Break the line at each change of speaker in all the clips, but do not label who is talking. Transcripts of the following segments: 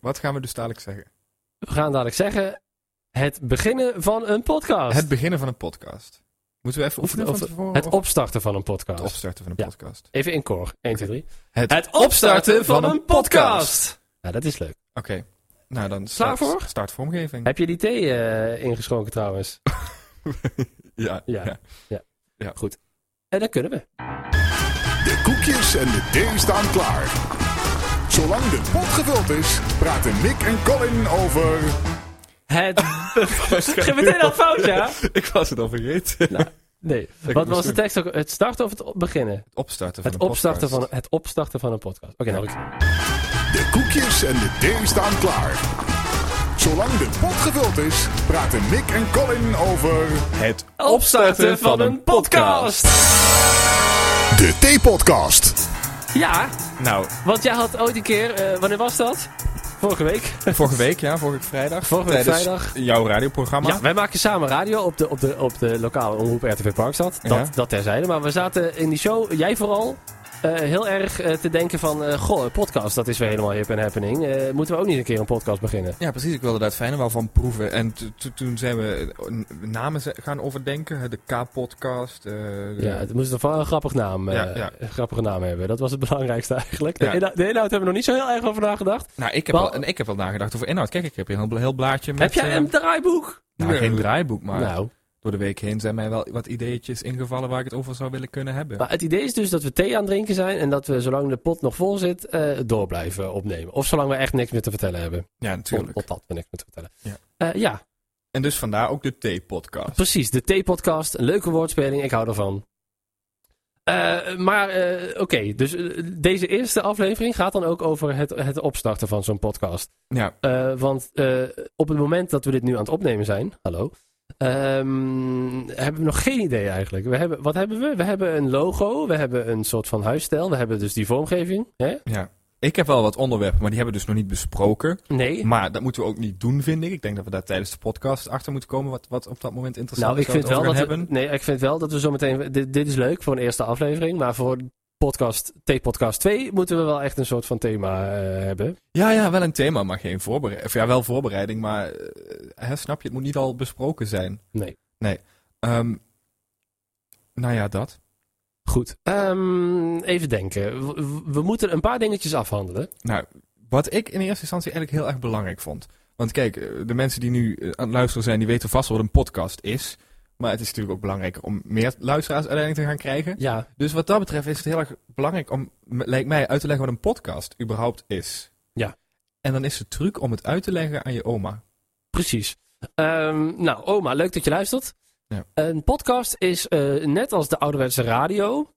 wat gaan we dus dadelijk zeggen?
We gaan dadelijk zeggen: het beginnen van een podcast.
Het beginnen van een podcast. Moeten we even
Of-
oefenen
of-
van tevoren?
Het
of
opstarten van een podcast.
het opstarten van een
Ja.
podcast.
Even in koor. 1, 2, 3.
Het,
Het opstarten van een podcast. Nou, dat is leuk.
Oké. Nou, dan
Klaar
start,
voor?
start vormgeving.
Heb je die thee eh, ingeschonken trouwens?
Ja,
Ja.
ja.
En dan kunnen we.
De koekjes en de thee staan klaar. Zolang de pot gevuld is, praten Mick en Colin over
Het. Geef meteen al fout, ja?
Ik was het al vergeten.
Nou, Nee.
Ik
Wat
moest
was de
doen.
tekst ook? Het starten of het op- beginnen?
Het opstarten van
Het
een
opstarten van,
podcast.
het opstarten van een podcast. Oké, nou, ik-
de koekjes en de thee staan klaar. Zolang de pot gevuld is, praten Mick en Colin over
Het opstarten van een podcast.
de theepodcast.
Ja,
Nou,
want jij had ooit een keer. eh, wanneer was dat? Vorige week.
vorige week, ja, vorige week vrijdag.
Vorige week
tijdens
vrijdag.
Jouw radioprogramma.
Ja, wij maken samen radio op de, op de, op de lokale omroep RTV Parkstad. Dat,
Ja.
dat terzijde. Maar we zaten in die show, jij vooral, eh, heel erg eh, te denken van... eh, goh, een podcast, dat is weer helemaal hip en happening. Eh, moeten we ook niet een keer een podcast beginnen?
Ja, precies. Ik wilde daar het fijne wel van proeven. En to- to- toen zijn we eh, namen ze- gaan overdenken. De K-podcast. eh, de-
Ja, het moest toch wel een grappig naam, eh,
Ja, ja.
een grappige naam hebben. Dat was het belangrijkste eigenlijk. De,
Ja.
inhoud, de inhoud hebben we nog niet zo heel erg over nagedacht.
Nou, ik heb,
Wel-
al, en ik heb wel nagedacht over inhoud. Kijk, ik heb hier een heel- heel blaadje met...
Heb jij
eh,
een draaiboek?
nou, Nee. geen draaiboek, maar
nou,
door de week heen zijn mij wel wat ideetjes ingevallen waar ik het over zou willen kunnen hebben.
maar het idee is dus dat we thee aan het drinken zijn... en dat we zolang de pot nog vol zit, eh, door blijven opnemen. Of zolang we echt niks meer te vertellen hebben.
ja, natuurlijk.
Totdat we niks meer te vertellen.
Ja.
Eh, ja,
En dus vandaar ook de T-podcast.
Precies, de T-podcast. Een leuke woordspeling, ik hou ervan. Eh, maar eh, oké, dus eh, deze eerste aflevering gaat dan ook over het, het opstarten van zo'n podcast.
Ja,
Eh, want eh, op het moment dat we dit nu aan het opnemen zijn, hallo, ehm, hebben we nog geen idee eigenlijk. We hebben, wat hebben we? We hebben een logo, we hebben een soort van huisstijl, we hebben dus die vormgeving. Hè?
ja. Ik heb wel wat onderwerpen, maar die hebben we dus nog niet besproken.
Nee,
Maar dat moeten we ook niet doen, vind ik. Ik denk dat we daar tijdens de podcast achter moeten komen wat, wat op dat moment interessant
Nou,
is.
ik vind,
waar
wel
we
dat
het over
we,
gaan
nee, ik vind wel dat we zometeen... Dit, dit is leuk voor een eerste aflevering, maar voor podcast, T-podcast 2 moeten we wel echt een soort van thema eh, hebben.
hebben. Ja, ja, wel een thema, maar geen voorbereiding. Of ja, wel voorbereiding, maar eh, hè, snap je, het moet niet al besproken zijn.
Nee.
Nee. Ehm, nou ja, dat.
Goed. Ehm, even denken. W- w- We moeten een paar dingetjes afhandelen.
Nou, wat ik in eerste instantie eigenlijk heel erg belangrijk vond. Want kijk, eh, de mensen die nu eh, aan het luisteren zijn, die weten vast wel wat een podcast is. Maar het is natuurlijk ook belangrijker om meer luisteraars uiteindelijk te gaan krijgen.
Ja,
Dus wat dat betreft is het heel erg belangrijk om, m- lijkt mij, uit te leggen wat een podcast überhaupt is.
Ja.
En dan is de truc om het uit te leggen aan je oma.
precies. Ehm, nou, oma, leuk dat je luistert.
Ja.
Een podcast is eh, net als de ouderwetse radio,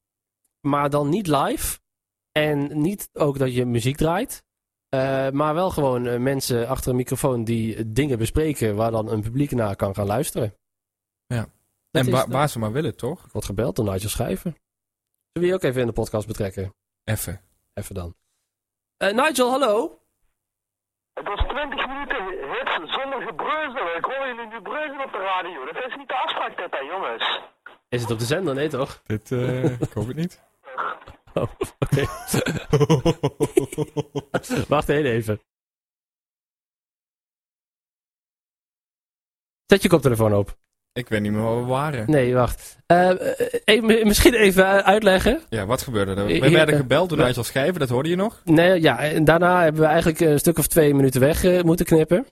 maar dan niet live. En niet ook dat je muziek draait. Eh, maar wel gewoon eh, mensen achter een microfoon die eh, dingen bespreken waar dan een publiek naar kan gaan luisteren.
Ja.
Dat
en
is
wa-
het.
waar ze maar willen, toch?
Ik word gebeld door Nigel Schrijven. Zullen we je ook even in de podcast betrekken?
Even.
Even dan. Eh, Nigel, hallo.
Dat is 20 minuten hits zonder gebreuzel. Ik hoor jullie nu breuzen op de radio. Dat is niet de afspraak dit, hè, jongens.
Is het op de zender? Nee, toch?
Dit, eh, ik hoop het niet.
Oh, oké. Wacht heel even. Zet je koptelefoon op.
ik weet niet meer waar we waren.
Nee, wacht. Eh, eh, even- misschien even eh, uitleggen.
Ja, wat gebeurde er?
Eh, Hier-
We werden gebeld door
Ja.
Nigel Schijven, dat hoorde je nog?
Nee, ja, en daarna hebben we eigenlijk een stuk of twee minuten weg eh, moeten knippen.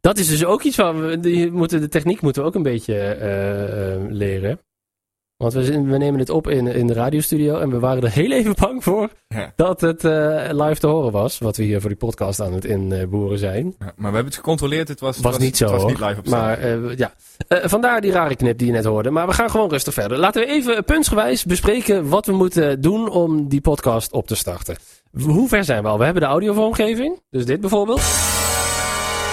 Dat is dus ook iets van. We, die moeten, de techniek moeten we ook een beetje eh, eh, leren. Want we, zin- we nemen het op in, in de radiostudio en we waren er heel even bang voor
Ja.
dat het eh, live te horen was. Wat we hier voor die podcast aan het inboeren zijn.
Ja, maar we hebben het gecontroleerd. Het was, het
Was niet zo,
Het was
hoor.
niet live op zender.
Maar eh, ja, Eh, vandaar die rare knip die je net hoorde. Maar we gaan gewoon rustig verder. Laten we even eh, puntsgewijs bespreken wat we moeten doen om die podcast op te starten. Hoe ver zijn we al? We hebben de audiovormgeving, dus dit bijvoorbeeld.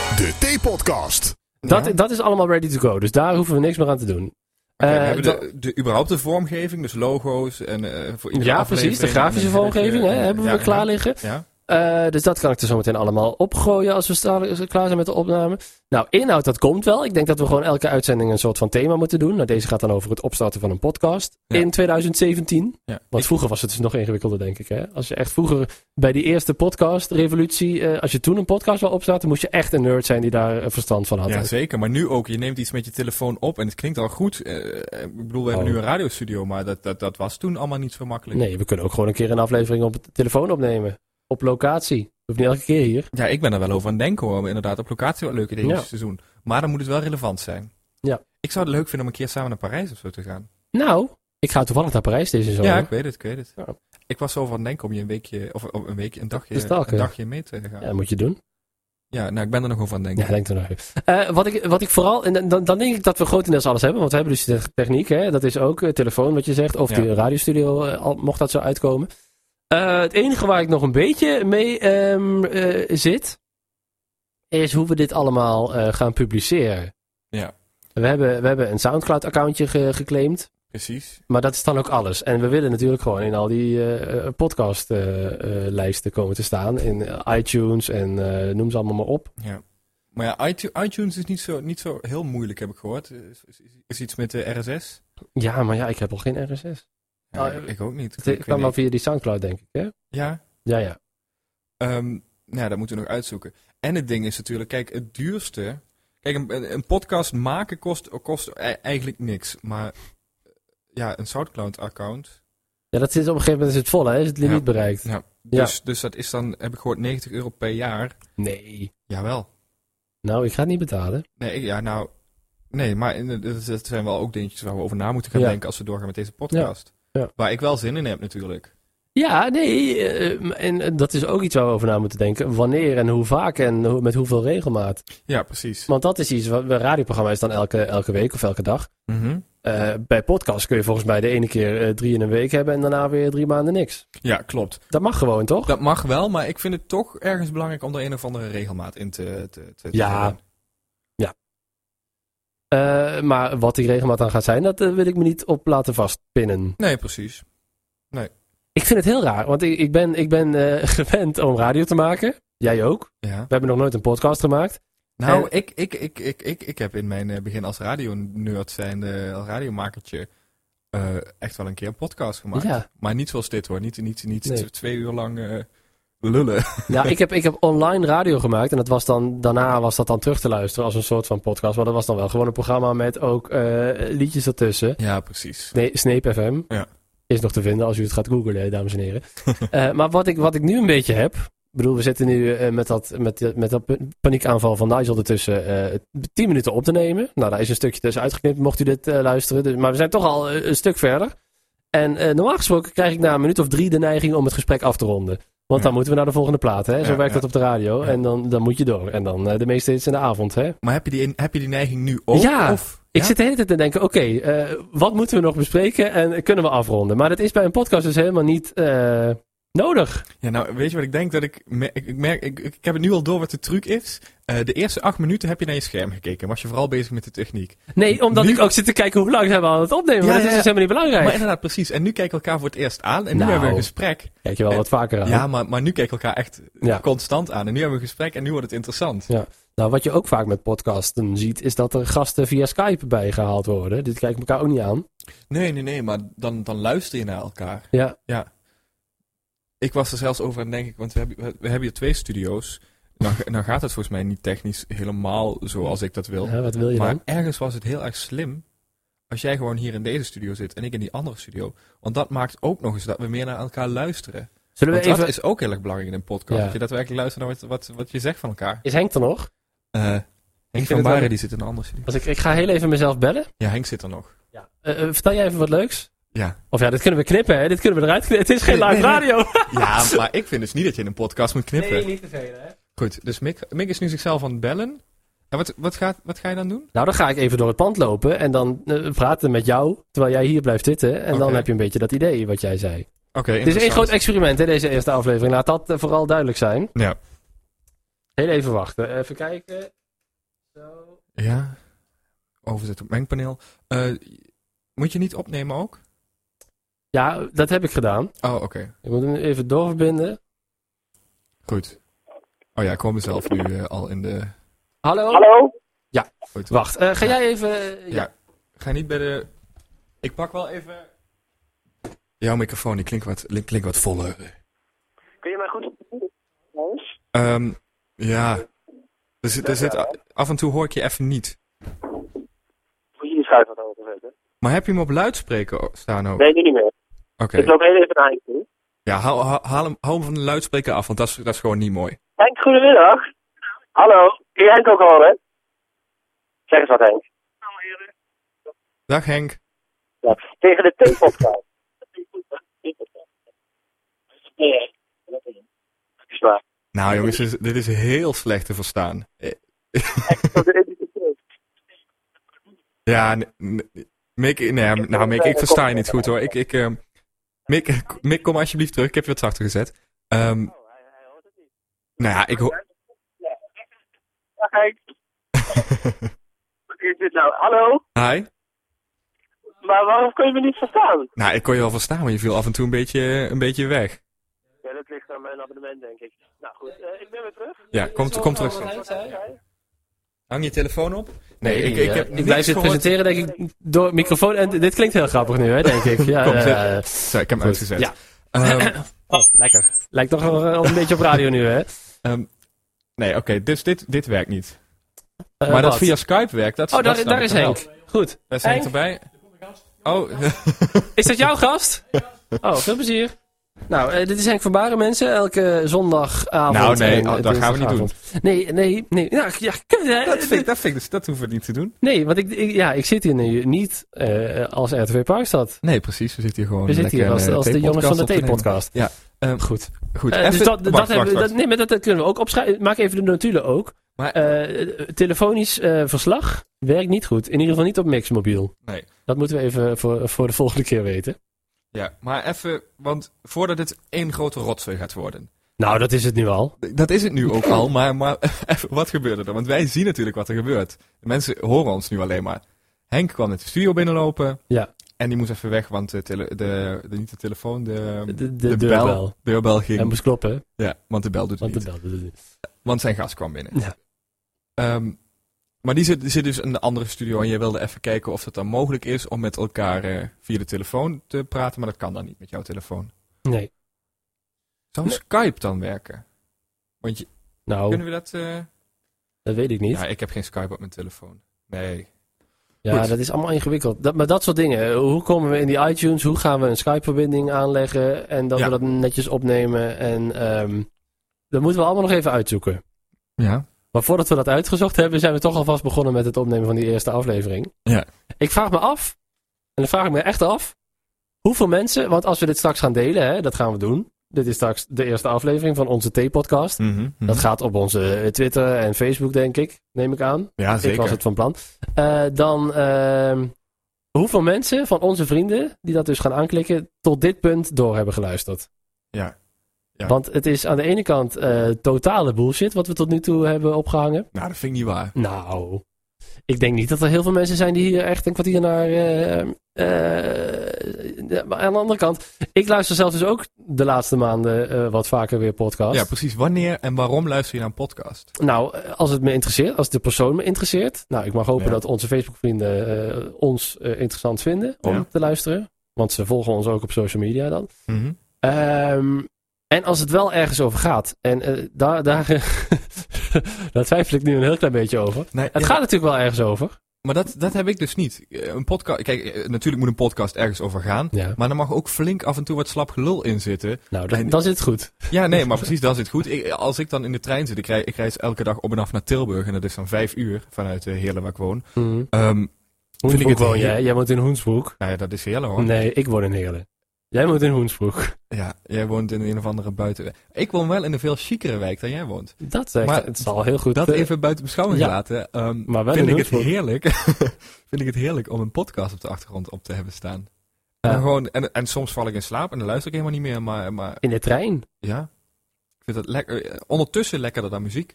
De theepodcast.
Dat,
Ja.
dat is allemaal ready to go, dus daar hoeven we niks meer aan te doen.
Oké, we
Eh,
hebben
dat-
de, de, überhaupt de vormgeving, dus logo's en eh voor iedere
ja,
aflevering
precies. De grafische
en dan heb je-
vormgeving hè, hebben
ja,
we
ja,
klaar liggen.
Ja,
Eh, dus dat kan ik er zometeen allemaal opgooien als we sta- als we klaar zijn met de opname. Nou, inhoud, dat komt wel. Ik denk dat we gewoon elke uitzending een soort van thema moeten doen. Nou, deze gaat dan over het opstarten van een podcast
Ja.
in 2017.
Ja.
Want vroeger was het dus nog ingewikkelder, denk ik. Hè? Als je echt vroeger bij die eerste podcast-revolutie, eh, als je toen een podcast wil opstarten, moest je echt een nerd zijn die daar eh, verstand van had.
Ja, zeker. Maar nu ook, je neemt iets met je telefoon op en het klinkt al goed. Eh, eh, ik bedoel, we hebben
Oh.
nu een radiostudio, maar dat, dat, dat was toen allemaal niet zo makkelijk.
nee, we kunnen ook gewoon een keer een aflevering op de telefoon opnemen. Op locatie. Of niet elke keer hier.
Ja, ik ben er wel over aan het denken hoor. Om inderdaad op locatie wat leuke dingen
Ja.
te doen. Maar dan moet het wel relevant zijn.
Ja.
Ik zou het leuk vinden om een keer samen naar Parijs of zo te gaan.
Nou, ik ga toevallig naar Parijs deze zomer.
Ja, ik weet het, ik weet het.
Ja.
Ik was over aan het denken om je een weekje, of, of een weekje, een dagje,
Te stalken.
een dagje mee te gaan.
Ja,
Ja.
dat moet je doen.
nou, ik ben er nog over aan het
Ja,
denken.
denk er nog even. Eh, wat, ik, wat ik vooral, en dan, dan denk ik dat we grotendeels alles hebben, want we hebben dus de techniek, hè? dat is ook eh, telefoon wat je zegt, of
Ja.
de radiostudio, eh, al- mocht dat zo uitkomen. Eh, het enige waar ik nog een beetje mee ehm, eh, zit, is hoe we dit allemaal eh, gaan publiceren.
Ja.
We hebben, we hebben een Soundcloud-accountje ge- geclaimd,
Precies.
maar dat is dan ook alles. En we willen natuurlijk gewoon in al die eh, podcast-lijsten eh, komen te staan, in iTunes en eh, noem ze allemaal maar op.
Ja. Maar ja, iTu- iTunes is niet zo, niet zo heel moeilijk, heb ik gehoord. Is, is, is iets met de RSS?
Ja, maar ja, ik heb al geen RSS.
Ja,
Ah,
ik ook niet. Ik
Het
weet
kwam al
niet.
via die Soundcloud, denk ik, hè?
Ja,
Ja, ja.
Ehm, nou, ja, dat moeten we nog uitzoeken. En het ding is natuurlijk, kijk, het duurste. Kijk, een- een, een podcast maken kost, kost e- eigenlijk niks. Maar eh, ja, een SoundCloud-account.
Ja, dat is op een gegeven moment is het vol, hè? Is het limiet
Ja.
bereikt?
Ja. Dus, dus dat is dan, heb ik gehoord, 90 euro per jaar.
Nee.
Jawel.
Nou, ik ga het niet betalen.
Nee, ik- ja, nou. Nee, maar in- eh, dat dat zijn wel ook dingetjes waar we over na moeten gaan
Ja.
denken als we doorgaan met deze podcast.
Ja. Ja.
Waar ik wel zin in heb natuurlijk.
Ja, nee. eh, m- en eh, dat is ook iets waar we over na moeten denken. Wanneer en hoe vaak en hoe- met hoeveel regelmaat.
Ja, precies.
Want dat is iets, wat een radioprogramma is dan elke, elke week of elke dag.
Mhm.
Eh, bij podcast kun je volgens mij de ene keer eh, drie in een week hebben en daarna weer drie maanden niks.
Ja, klopt.
Dat mag gewoon, toch?
Dat mag wel, maar ik vind het toch ergens belangrijk om er een of andere regelmaat in te, te, te te
Ja.
hebben.
Eh, maar wat die regelmaat dan gaat zijn, dat eh, wil ik me niet op laten vastpinnen.
Nee, precies.
Ik vind het heel raar, want ik, ik ben, ik ben eh, gewend om radio te maken. Jij ook.
Ja.
We hebben nog nooit een podcast gemaakt.
Nou, ik, ik, ik, ik, ik, ik heb in mijn eh, begin als radionerd zijnde, als radiomakertje, eh, echt wel een keer een podcast gemaakt.
Ja.
Maar niet zoals dit hoor. Niet, niet, niet
Nee.
t- twee uur lang eh, lullen.
Nou, ik heb, ik heb online radio gemaakt. En dat was dan, daarna was dat dan terug te luisteren als een soort van podcast. Maar dat was dan wel gewoon een programma met ook eh, liedjes ertussen.
Ja, precies.
Nee, Sneep FM
Ja.
is nog te vinden als u het gaat googlen, dames en heren. Eh, maar wat ik, wat ik nu een beetje heb... Ik bedoel, we zitten nu eh, met, dat, met, met dat paniekaanval van Nigel ertussen eh 10 minuten op te nemen. Nou, daar is een stukje tussen uitgeknipt, mocht u dit eh, luisteren. Dus, maar we zijn toch al eh, een stuk verder. En eh, normaal gesproken krijg ik na een minuut of drie de neiging om het gesprek af te ronden. Want
Ja.
dan moeten we naar de volgende plaat, hè? Zo
Ja,
werkt
ja.
dat op de radio.
Ja.
En dan, dan moet je door. En dan eh, de meeste hits in de avond, hè?
Maar heb je die, heb je die neiging nu ook?
Ja.
Of,
Ik
Ja?
zit de hele tijd te denken, oké, eh, wat moeten we nog bespreken en kunnen we afronden? Maar dat is bij een podcast dus helemaal niet eh, nodig.
Ja, nou, weet je wat ik denk? Dat ik, me- ik, ik merk, ik, ik heb het nu al door wat de truc is. Eh, de eerste acht minuten heb je naar je scherm gekeken. Was je vooral bezig met de techniek.
Nee, omdat
Nu-
ik ook zit te kijken hoe lang zijn we aan het opnemen.
Ja,
maar dat
ja,
is dus helemaal niet belangrijk.
Maar inderdaad, precies. En nu kijken we elkaar voor het eerst aan. En nu
Nou.
hebben we een gesprek.
Kijk je wel wat vaker aan.
Eh, Ja, maar, maar nu kijken we elkaar echt
Ja.
constant aan. En nu hebben we een gesprek en nu wordt het interessant.
Nou, wat je ook vaak met podcasten ziet, is dat er gasten via Skype bijgehaald worden. Dit kijken elkaar ook niet aan.
Nee, nee, nee, maar dan, dan luister je naar elkaar.
Ja.
Ja. Ik was er zelfs over aan het denken, want we hebben, we hebben hier twee studio's. Nou, ga- nou gaat het volgens mij niet technisch helemaal zoals ik dat wil.
Ja, wat wil je
Oh. maar
dan?
ergens was het heel erg slim als jij gewoon hier in deze studio zit en ik in die andere studio. Want dat maakt ook nog eens dat we meer naar elkaar luisteren.
Zullen we
Want
even...
dat
Is...
is ook heel erg belangrijk in een podcast.
Ja.
dat je daadwerkelijk luistert naar wat, wat, wat je zegt van elkaar.
Henk er nog?
Eh Henk
het
van Baren
wel-
die zit in een andere studio.
Want ik, ik ga heel even mezelf bellen.
Ja, Henk zit er nog.
Eh, eh, vertel jij even wat leuks?
Ja.
Of ja, dit kunnen we knippen, hè? Dit kunnen we eruit knippen. Het is geen
Nee,
live
nee, nee.
radio.
Ja, maar ik vind dus niet dat je in een podcast moet knippen.
niet te veel, hè?
Goed, dus Mick, Mick is nu zichzelf aan het bellen. En wat, wat, gaat, wat ga je dan doen?
Nou, dan ga ik even door het pand lopen en dan eh, praten met jou, terwijl jij hier blijft zitten. En dan
Oké.
heb je een beetje dat idee wat jij zei.
Oké,
Het is één groot experiment, hè, deze eerste aflevering. Laat dat eh, vooral duidelijk zijn.
Ja.
Heel even wachten. Even kijken. Zo.
Ja, overzet op mengpaneel. Eh, moet je niet opnemen ook?
Ja, dat heb ik gedaan.
Oh, oké.
Ik moet hem even doorverbinden.
Goed. Oh ja, ik hoor mezelf nu eh, al in de...
Hallo?
Hallo?
Goed.
Wacht, eh, ga jij even... eh,
Ja. Ga niet bij de... Ik pak wel even... Jouw microfoon, die klinkt wat, klink- klinkt wat voller.
Kun je mij goed Hans?
Ehm, ja. Er zit, er zit, af en toe hoor ik je even niet.
Moet je die schuif wat open zetten?
Maar heb je hem op luidspreker o- staan ook?
Nee, nu niet meer.
Oké.
Ik loop heel even naar Henk toe.
Ja, haal, haal, haal hem, haal hem van de luidspreker af, want dat is, dat is gewoon niet mooi.
Henk, goedemiddag. Hallo. Kun je Henk ook horen? Zeg eens wat, Henk.
Dag Henk.
Ja. Tegen de T-podcast. Nee. Is waar.
Nou jongens, dit is, dit is heel slecht te verstaan. Eh,
Tot de identiteit.
Ja, n- n- Mick, nee, ja, nou Mick, ik versta je niet goed hoor. Ik, ik, ehm, Mick, Mick, kom alsjeblieft terug. Ik heb je wat zachter gezet. Ehm,
Oh,
nou ja, ik hoor...
Dag, Henk. Wat is dit nou? Hallo?
Hi.
Maar waarom kun je me niet verstaan?
Nou, ik kon je wel verstaan, maar je viel af en toe een beetje, een beetje weg.
Ja, dat ligt aan mijn abonnement, denk ik. Nou goed, eh, ik ben weer terug.
Ja, kom, kom terug. straks. Hang je telefoon op? Nee, ik, ik
eh,
heb
ik
niks
blijf dit
gehoord.
presenteren, denk ik, door microfoon. En dit klinkt heel grappig nu, hè, denk ik. Ja,
Kom,
eh,
zet. Zo, ik heb hem
goed.
uitgezet.
Ja.
Ehm,
Oh, lekker. Lijkt toch wel eh, een beetje op radio nu, hè?
Ehm, Nee, oké, dus dit, dit werkt niet.
Eh,
maar dat
wat?
via Skype werkt, dat
Oh,
dat
daar,
snap
daar
ik
is
wel.
Henk. Goed.
Daar is Henk
Henk?
erbij. Oh,
Is dat jouw gast? Oh, veel plezier. Nou, eh, dit is Henk van Baren, mensen. Elke zondagavond.
Nou, nee,
en, eh,
oh, dat gaan we niet
dinsdagavond. Nee, nee, nee. Nou, ja, eh,
dat, vind, ik- dat, vind ik dus, dat hoeven we niet te doen.
Nee, want ik, ik- ja, ik zit hier nu niet eh, als RTV Parkstad.
Nee, precies, we zitten hier gewoon
We zitten hier
lekker
als,
een, eh,
als de jongens
theepodcast
van de
op te nemen.
T-podcast.
Ja, ehm,
Goed.
Goed,
Eh, dus
even-
dat, dat
wacht,
hebben,
wacht,
dat, nee, maar dat, dat kunnen we ook opschrijven. Maak even de notulen ook.
Maar-
Eh, telefonisch eh, verslag werkt niet goed. In ieder geval niet op Mixmobiel.
wacht. Nee.
Dat moeten we even voor, voor de volgende keer weten.
Ja, maar even, want voordat het één grote rotzooi gaat worden.
Nou, dat is het nu al.
Dat is het nu ook al, maar, maar even, wat gebeurde er? Want wij zien natuurlijk wat er gebeurt. De mensen horen ons nu alleen maar. Henk kwam net de studio binnenlopen.
Ja.
En die moest even weg, want de, tele, de, de niet de telefoon, de,
De, de, deurbel.
bel, deurbel
Hij
ging.
moest kloppen,
Ja, want de bel doet het
want
niet.
de bel doet het niet.
Want zijn gast kwam binnen.
Ja.
Ehm, maar die zit, die zit dus in een andere studio en jij wilde even kijken of het dan mogelijk is om met elkaar eh, via de telefoon te praten, maar dat kan dan niet met jouw telefoon.
Nee.
Zou
Nee.
Skype dan werken? Want je-
Nou,
kunnen we dat... eh,
dat weet ik niet.
Ja, ik heb geen Skype op mijn telefoon. Nee.
Ja,
Goed.
dat is allemaal ingewikkeld. Dat, maar dat soort dingen. Hoe komen we in die iTunes? Hoe gaan we een Skype-verbinding aanleggen? En dat
Ja.
we dat netjes opnemen. En ehm, dat moeten we allemaal nog even uitzoeken.
Ja.
Maar voordat we dat uitgezocht hebben, zijn we toch alvast begonnen met het opnemen van die eerste aflevering.
Ja.
Ik vraag me af, en dan vraag ik me echt af, hoeveel mensen, want als we dit straks gaan delen, hè, dat gaan we doen. Dit is straks de eerste aflevering van onze T-podcast.
Mhm,
Dat gaat op onze eh, Twitter en Facebook, denk ik, neem ik aan.
Ja,
Ik was het van plan. Eh, dan ehm, hoeveel mensen van onze vrienden die dat dus gaan aanklikken, tot dit punt door hebben geluisterd.
Ja. Ja.
Want het is aan de ene kant eh, totale bullshit wat we tot nu toe hebben opgehangen.
Nou, dat vind ik niet waar.
Nou, ik denk niet dat er heel veel mensen zijn die hier echt een kwartier naar. eh, eh, ja, maar aan de andere kant, ik luister zelf dus ook de laatste maanden eh, wat vaker weer podcast.
Ja, precies. Wanneer en waarom luister je naar een podcast?
Nou, als het me interesseert, als de persoon me interesseert. Nou, ik mag hopen
Ja.
dat onze Facebook-vrienden eh, ons eh, interessant vinden om
Ja.
te luisteren. Want ze volgen ons ook op social media dan. Ehm, en als het wel ergens over gaat. En eh, daar, daar, daar twijfel ik nu een heel klein beetje over.
Nee,
Het
ja,
gaat natuurlijk wel ergens over.
Maar dat, dat heb ik dus niet. Eh, Een podcast, kijk, eh, natuurlijk moet een podcast ergens over gaan.
Ja.
Maar er mag ook flink af en toe wat slap gelul in zitten.
Nou, dat,
En-
dan zit het goed.
Ja, nee, maar precies, dat is het goed. Ik- als ik dan in de trein zit, ik, rij, ik reis elke dag op en af naar Tilburg. En dat is dan vijf uur vanuit eh, Heerlen waar ik woon.
Mm.
Ehm vind ik
Hoensbroek
het
woon
heel-
jij. Jij woont in Hoensbroek.
nou ja, dat is Heerlen hoor.
Nee, ik woon in Heerlen. Jij woont in Hoensbroek.
Ja, jij woont in een of andere buiten... Ik woon wel in een veel chicere wijk dan jij woont.
Dat zegt,
Maar
het zal heel goed.
Dat
eh,
even buiten beschouwing
ja.
laten. ehm,
Maar wel
vind
in
ik het
Hoensbroek.
heerlijk. vind ik het heerlijk om een podcast op de achtergrond op te hebben staan. En,
Ja.
dan gewoon, en, en soms val ik in slaap en dan luister ik helemaal niet meer. Maar, maar
in de trein.
ja, ik vind dat lekker. eh, Ondertussen lekkerder dan muziek.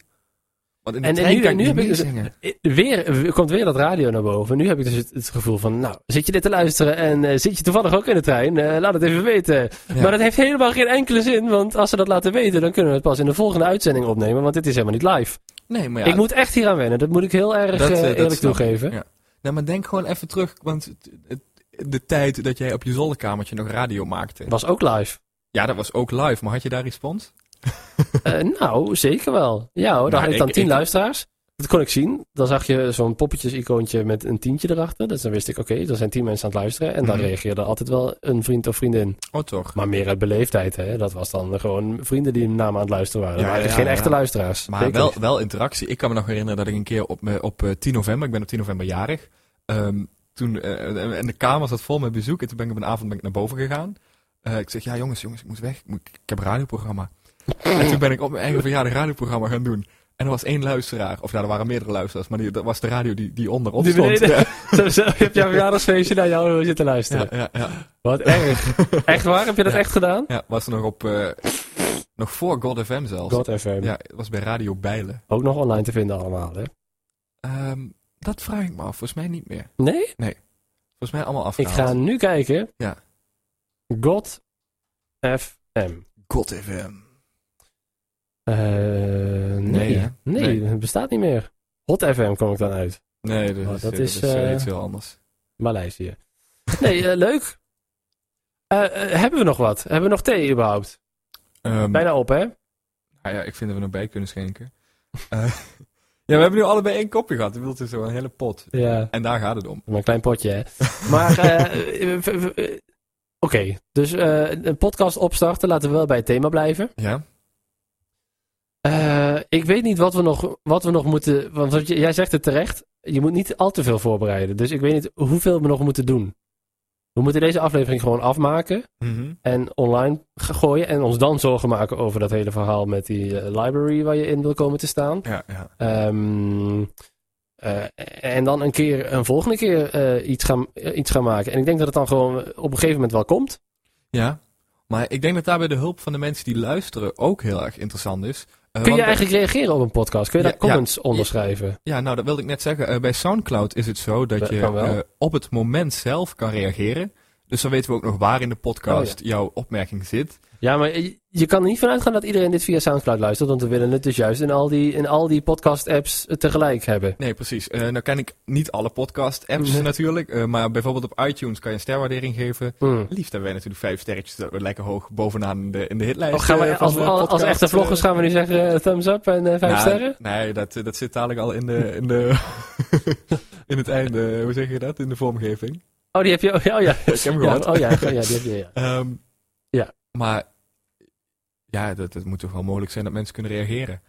Want in de
En, en
trein
nu,
kan
nu
ik
heb
niet
ik dus,
zingen.
weer, komt weer dat radio naar boven. Nu heb ik dus het, het gevoel van, nou, zit je dit te luisteren en eh, zit je toevallig ook in de trein? Eh, laat het even weten.
Ja.
Maar dat heeft helemaal geen enkele zin, want als ze dat laten weten, dan kunnen we het pas in de volgende uitzending opnemen, want dit is helemaal niet live.
Nee, maar ja,
ik moet echt hier aan wennen, dat moet ik heel erg
Dat,
eh,
eh, dat
eerlijk
snap ik.
toegeven.
Ja. Nou, maar denk gewoon even terug, want het- het- de tijd dat jij op je zolderkamertje nog radio maakte.
Was ook live.
Ja, dat was ook live, maar had je daar respons?
Eh, nou, zeker wel. Ja hoor, dan
Nou,
had ik
ik-
dan tien
ik-
luisteraars. Dat kon ik zien. Dan zag je zo'n poppetjes-icoontje met een tientje erachter. Dus dan wist ik, oké, er zijn tien mensen aan het luisteren. En dan
Mhm.
reageerde altijd wel een vriend of vriendin.
Oh, toch?
Maar meer uit beleefdheid, hè. Dat was dan gewoon vrienden die hem naam aan het luisteren waren.
Ja,
Ja, waren
ja,
geen
ja.
echte luisteraars.
Maar
Zeker
wel,
niet.
wel interactie. Ik kan me nog herinneren dat ik een keer op, me- op eh, 10 november, ik ben op 10 november jarig, ehm, toen, eh, en de kamer zat vol met bezoek en toen ben ik op een avond ben ik naar boven gegaan. Eh, ik zeg, ja jongens, jongens, ik moet weg. Ik, moet, ik heb een radioprogramma. en toen ben ik op mijn eigen verjaardag een radioprogramma gaan doen. En er was één luisteraar, of nou, er waren meerdere luisteraars, maar die, dat was de radio die, die onderop
Die
stond.
beneden.
Ja,
Zo, zo, Dus, eh, je hebt jouw verjaardagsfeestje naar jou zitten luisteren.
ja, ja, ja.
Wat erg. echt waar? Heb je dat
Ja.
echt gedaan?
Ja, was er nog op, eh, nog voor God FM zelfs.
God FM.
Ja, het was bij Radio Bijlen.
Ook nog online te vinden allemaal, hè?
Ehm, dat vraag ik me af, volgens mij niet meer.
Nee?
Volgens mij allemaal
Ik
afgehaald.
ga nu kijken.
Ja.
God FM.
God
Oh,
FM.
Eh, nee,
Nee,
nee,
hè? Nee.
het bestaat niet meer. Hot FM kom ik dan uit.
Nee, dat,
Oh,
is,
dat
dat
is,
is, eh,
eh,
iets heel anders.
Maleisië. Nee, eh, leuk. Eh, eh, hebben we nog wat? Hebben we nog thee überhaupt?
Ehm,
Bijna op, hè?
nou ja, ik vind dat we nog bij kunnen schenken. Eh, ja, we hebben nu allebei één kopje gehad. Dat wil dus een hele pot.
Ja.
En daar gaat het om.
Maar een klein potje, hè? Maar, eh, eh, v- v- eh, oké. Dus eh, een podcast opstarten. Laten we wel bij het thema blijven.
Ja?
Eh, ik weet niet wat we nog, wat we nog moeten... Want wat je- jij zegt het terecht. Je moet niet al te veel voorbereiden. Dus ik weet niet hoeveel we nog moeten doen. We moeten deze aflevering gewoon afmaken.
Mhm.
en online ge- gooien. En ons dan zorgen maken over dat hele verhaal met die eh, library waar je in wil komen te staan.
Ja, ja.
Ehm, eh, en dan een keer, een volgende keer eh, iets, gaan, eh, iets gaan maken. En ik denk dat het dan gewoon eh, op een gegeven moment wel komt.
Ja. Maar ik denk dat daarbij de hulp van de mensen die luisteren ook heel erg interessant is. Eh,
Kun
want-
je eigenlijk reageren op een podcast? Kun je daar
Ja, ja.
comments onderschrijven?
Ja, nou, dat wilde ik net zeggen. Eh, bij Soundcloud is het zo dat
Dat
je
kan wel.
eh, op het moment zelf kan reageren. Dus dan weten we ook nog waar in de podcast
Oh,
jouw opmerking zit.
Ja, maar je- je kan er niet vanuit gaan dat iedereen dit via Soundcloud luistert. Want we willen het dus juist in al die, in al die podcast-apps tegelijk hebben.
Nee, precies. Eh nou ken ik niet alle podcast-apps
Nee.
natuurlijk. eh, maar bijvoorbeeld op iTunes kan je een sterwaardering geven.
Hmm.
Liefst hebben wij natuurlijk vijf sterretjes. Dat we lekker hoog bovenaan in de, in de hitlijst.
Oh, gaan
eh,
we,
van
als,
de
als, als
podcast,
echte vloggers
eh,
gaan we nu zeggen eh, thumbs up en eh, vijf
nou,
sterren?
Nee, dat, eh, dat zit dadelijk al in de... In, de in het einde, eh, hoe zeg je dat? In de vormgeving.
Oh, die heb je. Oh ja, oh ja.
Ik heb hem
Ja,
gehad.
oh ja, ja, die heb je. Ja.
Ehm,
Ja.
Maar ja, dat, dat moet toch wel mogelijk zijn dat mensen kunnen reageren.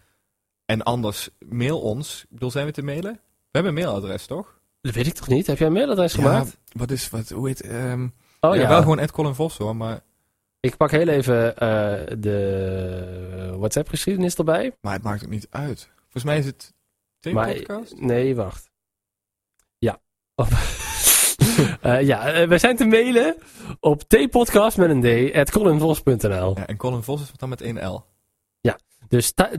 En anders, mail ons. Ik bedoel, zijn we te mailen? We hebben een mailadres, toch?
Dat weet ik toch niet? Heb jij een mailadres gemaakt?
Wat is, wat, hoe heet... ehm,
oh
ja,
ja.
Wel gewoon Ed Colin Vos, hoor. Maar,
Ik pak heel even eh, de WhatsApp-geschiedenis erbij.
maar het maakt ook niet uit. Volgens mij is het...
Maar-
T-podcast?
Nee, wacht. Ja. Oh. Eh, ja, eh, wij zijn te mailen op tpodcast met een d at colinvos.nl.
Ja, en Colin Vos is dan met 1 L.
Dus ta-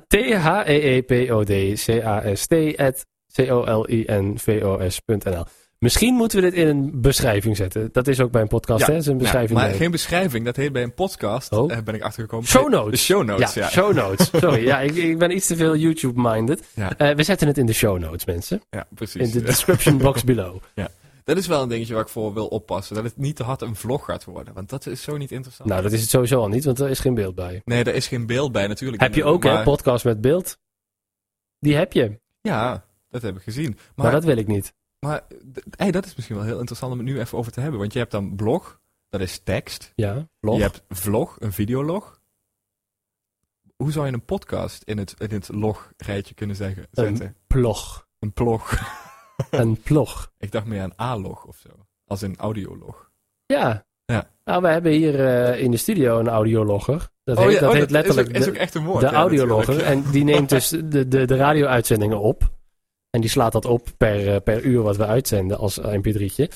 T-H-E-E-P-O-D-C-A-S-T at C-O-L-I-N-V-O-S.nl. Misschien moeten we dit in een beschrijving zetten. Dat is ook bij een podcast,
Ja,
hè? Dat is een beschrijving.
maar
bij.
geen beschrijving, dat heet bij een podcast,
Oh.
eh, ben ik achtergekomen.
Show
De
notes.
show notes, ja.
ja, show notes. Sorry, ja, ik, ik ben iets te veel YouTube-minded.
Ja.
Eh, we zetten het in de show notes, mensen.
Ja,
In
precies.
de description box below.
Dat is wel een dingetje waar ik voor wil oppassen. Dat het niet te hard een vlog gaat worden, want dat is zo niet interessant.
Nou, dat is het sowieso al niet, want er is geen beeld bij.
Nee, daar is geen beeld bij natuurlijk.
Heb je ook,
Maar-
hè, podcast met beeld? Die heb je, maar,
Ja, dat heb ik gezien. Maar,
dat wil ik niet.
maar d- hey, dat is misschien wel heel interessant om het nu even over te hebben. Want je hebt dan blog, dat is tekst.
Ja, blog.
Je hebt vlog, een videolog. Hoe zou je een podcast in het, in het log-rijtje kunnen zeggen,
Een-
zetten?
Plog.
Een plog.
Een plog.
Ik dacht meer aan A-log of zo. Als een audiolog.
Ja.
Ja.
Nou, we hebben hier eh, in de studio een audiologger. Dat, heet,
Oh ja,
dat heet letterlijk
Is ook, is
de-
ook echt een woord.
de
ja,
audiologer.
Oh, natuurlijk.
En die neemt dus de, de, de radio-uitzendingen op. En die slaat dat op per, eh, per uur wat we uitzenden als mp3'tje.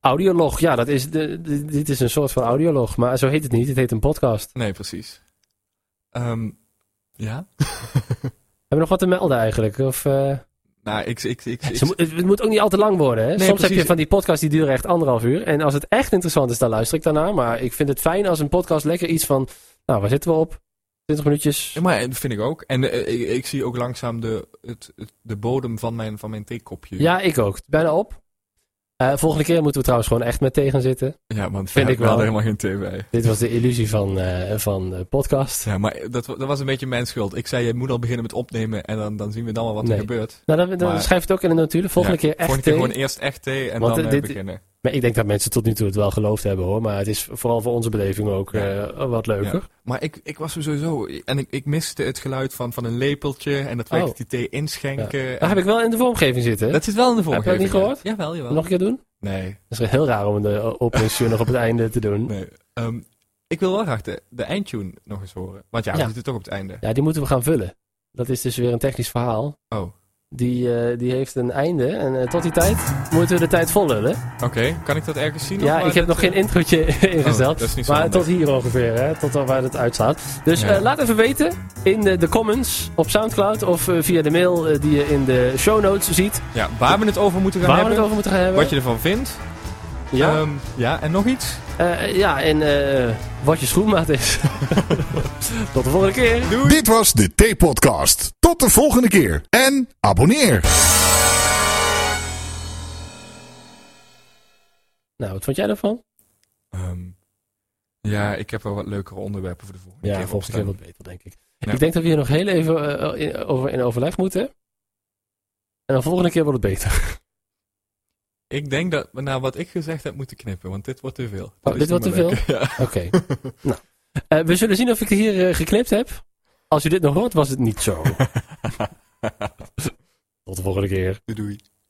Audiolog, ja, dat is de, de- dit is een soort van audiolog. Maar zo heet het niet, het heet een podcast.
Nee, precies. Ehm, ja?
we nog wat te melden eigenlijk? Of, eh,
Nou, ik... ik, ik, ik-
ze mo- het, het moet ook niet al te lang worden. Hè? Soms heb
precies.
je van die podcasts die duren echt anderhalf uur. En als het echt interessant is, dan luister ik daarna. Maar ik vind het fijn als een podcast lekker iets van... Nou, waar zitten we op? 20 minuutjes.
Ja, maar dat vind ik ook. En eh, ik, ik zie ook langzaam de, het, het- de bodem van mijn, van mijn theekopje.
Ja, ik ook. Bijna op. Eh, volgende keer moeten we trouwens gewoon echt met tegen zitten.
ja want
Vind
we
ik wel.
hadden helemaal geen thee bij.
Dit was de illusie van, eh, van eh, podcast.
Ja, maar dat, wa- dat was een beetje mijn schuld. Ik zei, je moet al beginnen met opnemen en dan, dan zien we dan wel wat
Nee.
er gebeurt.
Nou, dan, dan
Maar-
schrijf het ook in de notulen. Volgende
Ja,
keer echt
Volgende keer
thee.
gewoon eerst echt thee en
Want,
dan
eh,
eh,
dit-
beginnen.
Maar ik denk dat mensen tot nu toe het wel geloofd hebben hoor. Maar het is vooral voor onze beleving ook
Ja.
eh, wat leuker.
Maar ik, ik was er sowieso... En ik, ik miste het geluid van, van een lepeltje en dat werkt
Oh.
die thee inschenken. en-
Daar heb ik wel in de vormgeving zitten.
Dat zit wel in de vorige.
Heb je dat niet
keer.
gehoord?
Jawel, jawel.
Nog een keer doen?
Nee,
Dat is heel raar om de openingstune nog op het einde te doen.
nee. Ehm, ik wil wel graag de, de eindtune nog eens horen. Want ja,
Ja.
we zitten toch op het einde.
Ja, die moeten we gaan vullen. Dat is dus weer een technisch verhaal.
Oh,
Die, eh, die heeft een einde. En eh, tot die tijd moeten we de tijd vollullen.
oké. Kan ik dat ergens zien? of
Ja,
waar
ik
dat,
heb nog geen
eh,
introotje ingesteld.
dat is niet zo
maar
handig.
tot hier ongeveer, hè? tot al waar het uitstaat. Dus
Ja.
eh, laat even weten in de, de comments op Soundcloud of eh, via de mail eh, die je in de show notes ziet.
Ja, waar we het over moeten gaan
waar we
hebben.
het over moeten gaan hebben.
Wat je ervan vindt.
ja.
Ehm, ja, en nog iets?
Eh, ja, en eh, wat je schoenmaat is. tot de volgende keer.
Dit was de T-podcast. Tot de volgende keer en abonneer.
Nou, wat vond jij daarvan?
Ehm, ja, ik heb wel wat leukere onderwerpen voor de volgende
Ja,
keer.
volgens keer
opstaan.
wat beter, denk ik.
Ja.
Ik denk dat we hier nog heel even eh, in, over, in overleg moeten. En dan volgende keer wordt het beter.
Ik denk dat we naar wat ik gezegd heb moeten knippen, want dit wordt te veel.
Oh,
Dat is
dit
niet
wordt
meer
te
lekker. Ja.
Oké. nou, Eh, we zullen zien of ik hier eh, geknipt heb. Als u dit nog hoort, was het niet zo. Tot de volgende keer.
Doei, Doei.